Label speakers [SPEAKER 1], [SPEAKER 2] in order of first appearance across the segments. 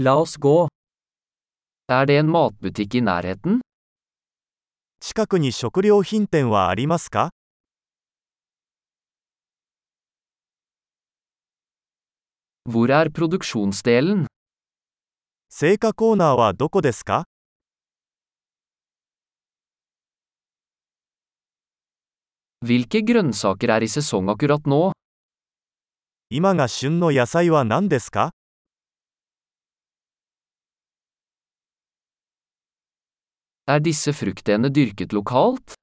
[SPEAKER 1] La oss gå. Er det en matbutikk i nærheten?
[SPEAKER 2] 近くに食料品店はありますか
[SPEAKER 1] Hvor er produksjonsdelen?
[SPEAKER 2] 青果コーナーはどこですか
[SPEAKER 1] Hvilke grønnsaker er i sesong akkurat nå?
[SPEAKER 2] 今が旬の野菜は何ですか
[SPEAKER 1] Er disse fruktene dyrket lokalt?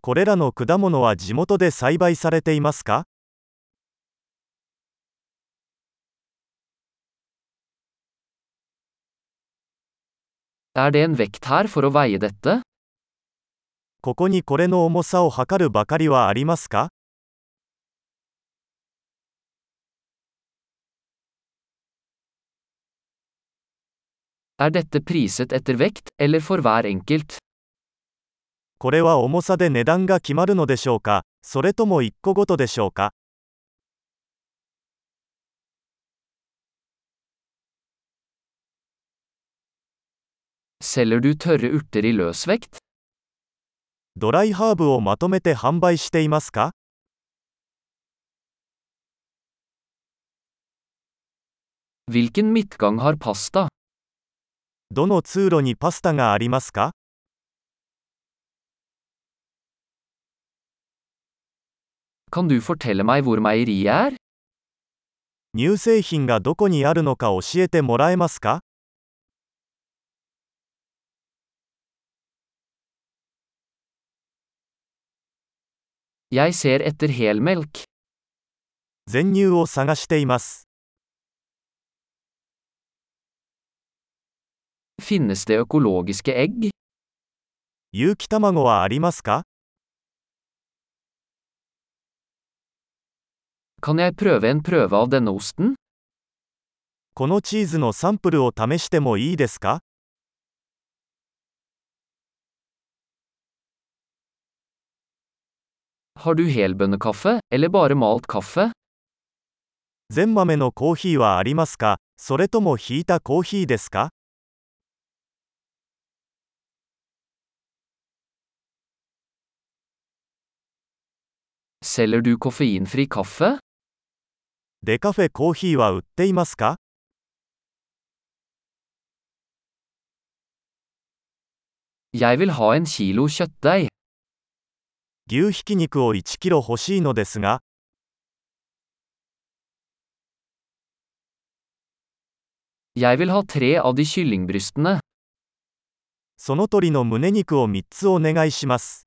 [SPEAKER 2] これらの果物は地元で栽培されていますか
[SPEAKER 1] Er det en vekt her for å veie dette?
[SPEAKER 2] ここにこれの重さを測るばかりはありますか
[SPEAKER 1] Er dette priset etter vekt, eller for hver enkelt?
[SPEAKER 2] これは重さで値段が決まるのでしょうかそれとも1個ごとでしょうか
[SPEAKER 1] Selger du tørre urter i løsvekt?
[SPEAKER 2] ドライハーブをまとめて販売していますか
[SPEAKER 1] Hvilken midtgang har pasta?
[SPEAKER 2] どの通路にパスタがありますか
[SPEAKER 1] Kan du fortelle meg hvor meieriet er?
[SPEAKER 2] 乳製品がどこにあるのか教えてもらえますか
[SPEAKER 1] Jeg ser etter helmelk.
[SPEAKER 2] 全乳を探しています。
[SPEAKER 1] Finnes det økologiske egg?
[SPEAKER 2] 有機卵はありますか
[SPEAKER 1] Kan jeg prøve en prøve av denne osten?
[SPEAKER 2] このチーズのサンプルを試してもいいですか
[SPEAKER 1] Har du helbønnekaffe, eller bare malt kaffe?
[SPEAKER 2] 全豆のコーヒーはありますかそれともひいたコーヒーですか
[SPEAKER 1] Selger du koffeinfri kaffe?
[SPEAKER 2] デカフェコーヒーは売っていますか
[SPEAKER 1] Jeg vil ha en kilo kjøttdeig.
[SPEAKER 2] 牛ひき肉を1キロ欲しいのですが、
[SPEAKER 1] Jeg vil ha tre av de kyllingbrystene.
[SPEAKER 2] その鳥の胸肉を3つお願いします。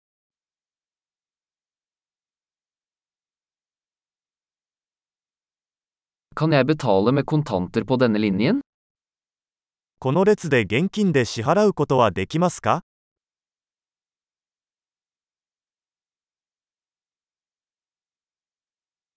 [SPEAKER 1] Kan jeg betale med kontanter på denne linjen?
[SPEAKER 2] この列で現金で支払うことはできますか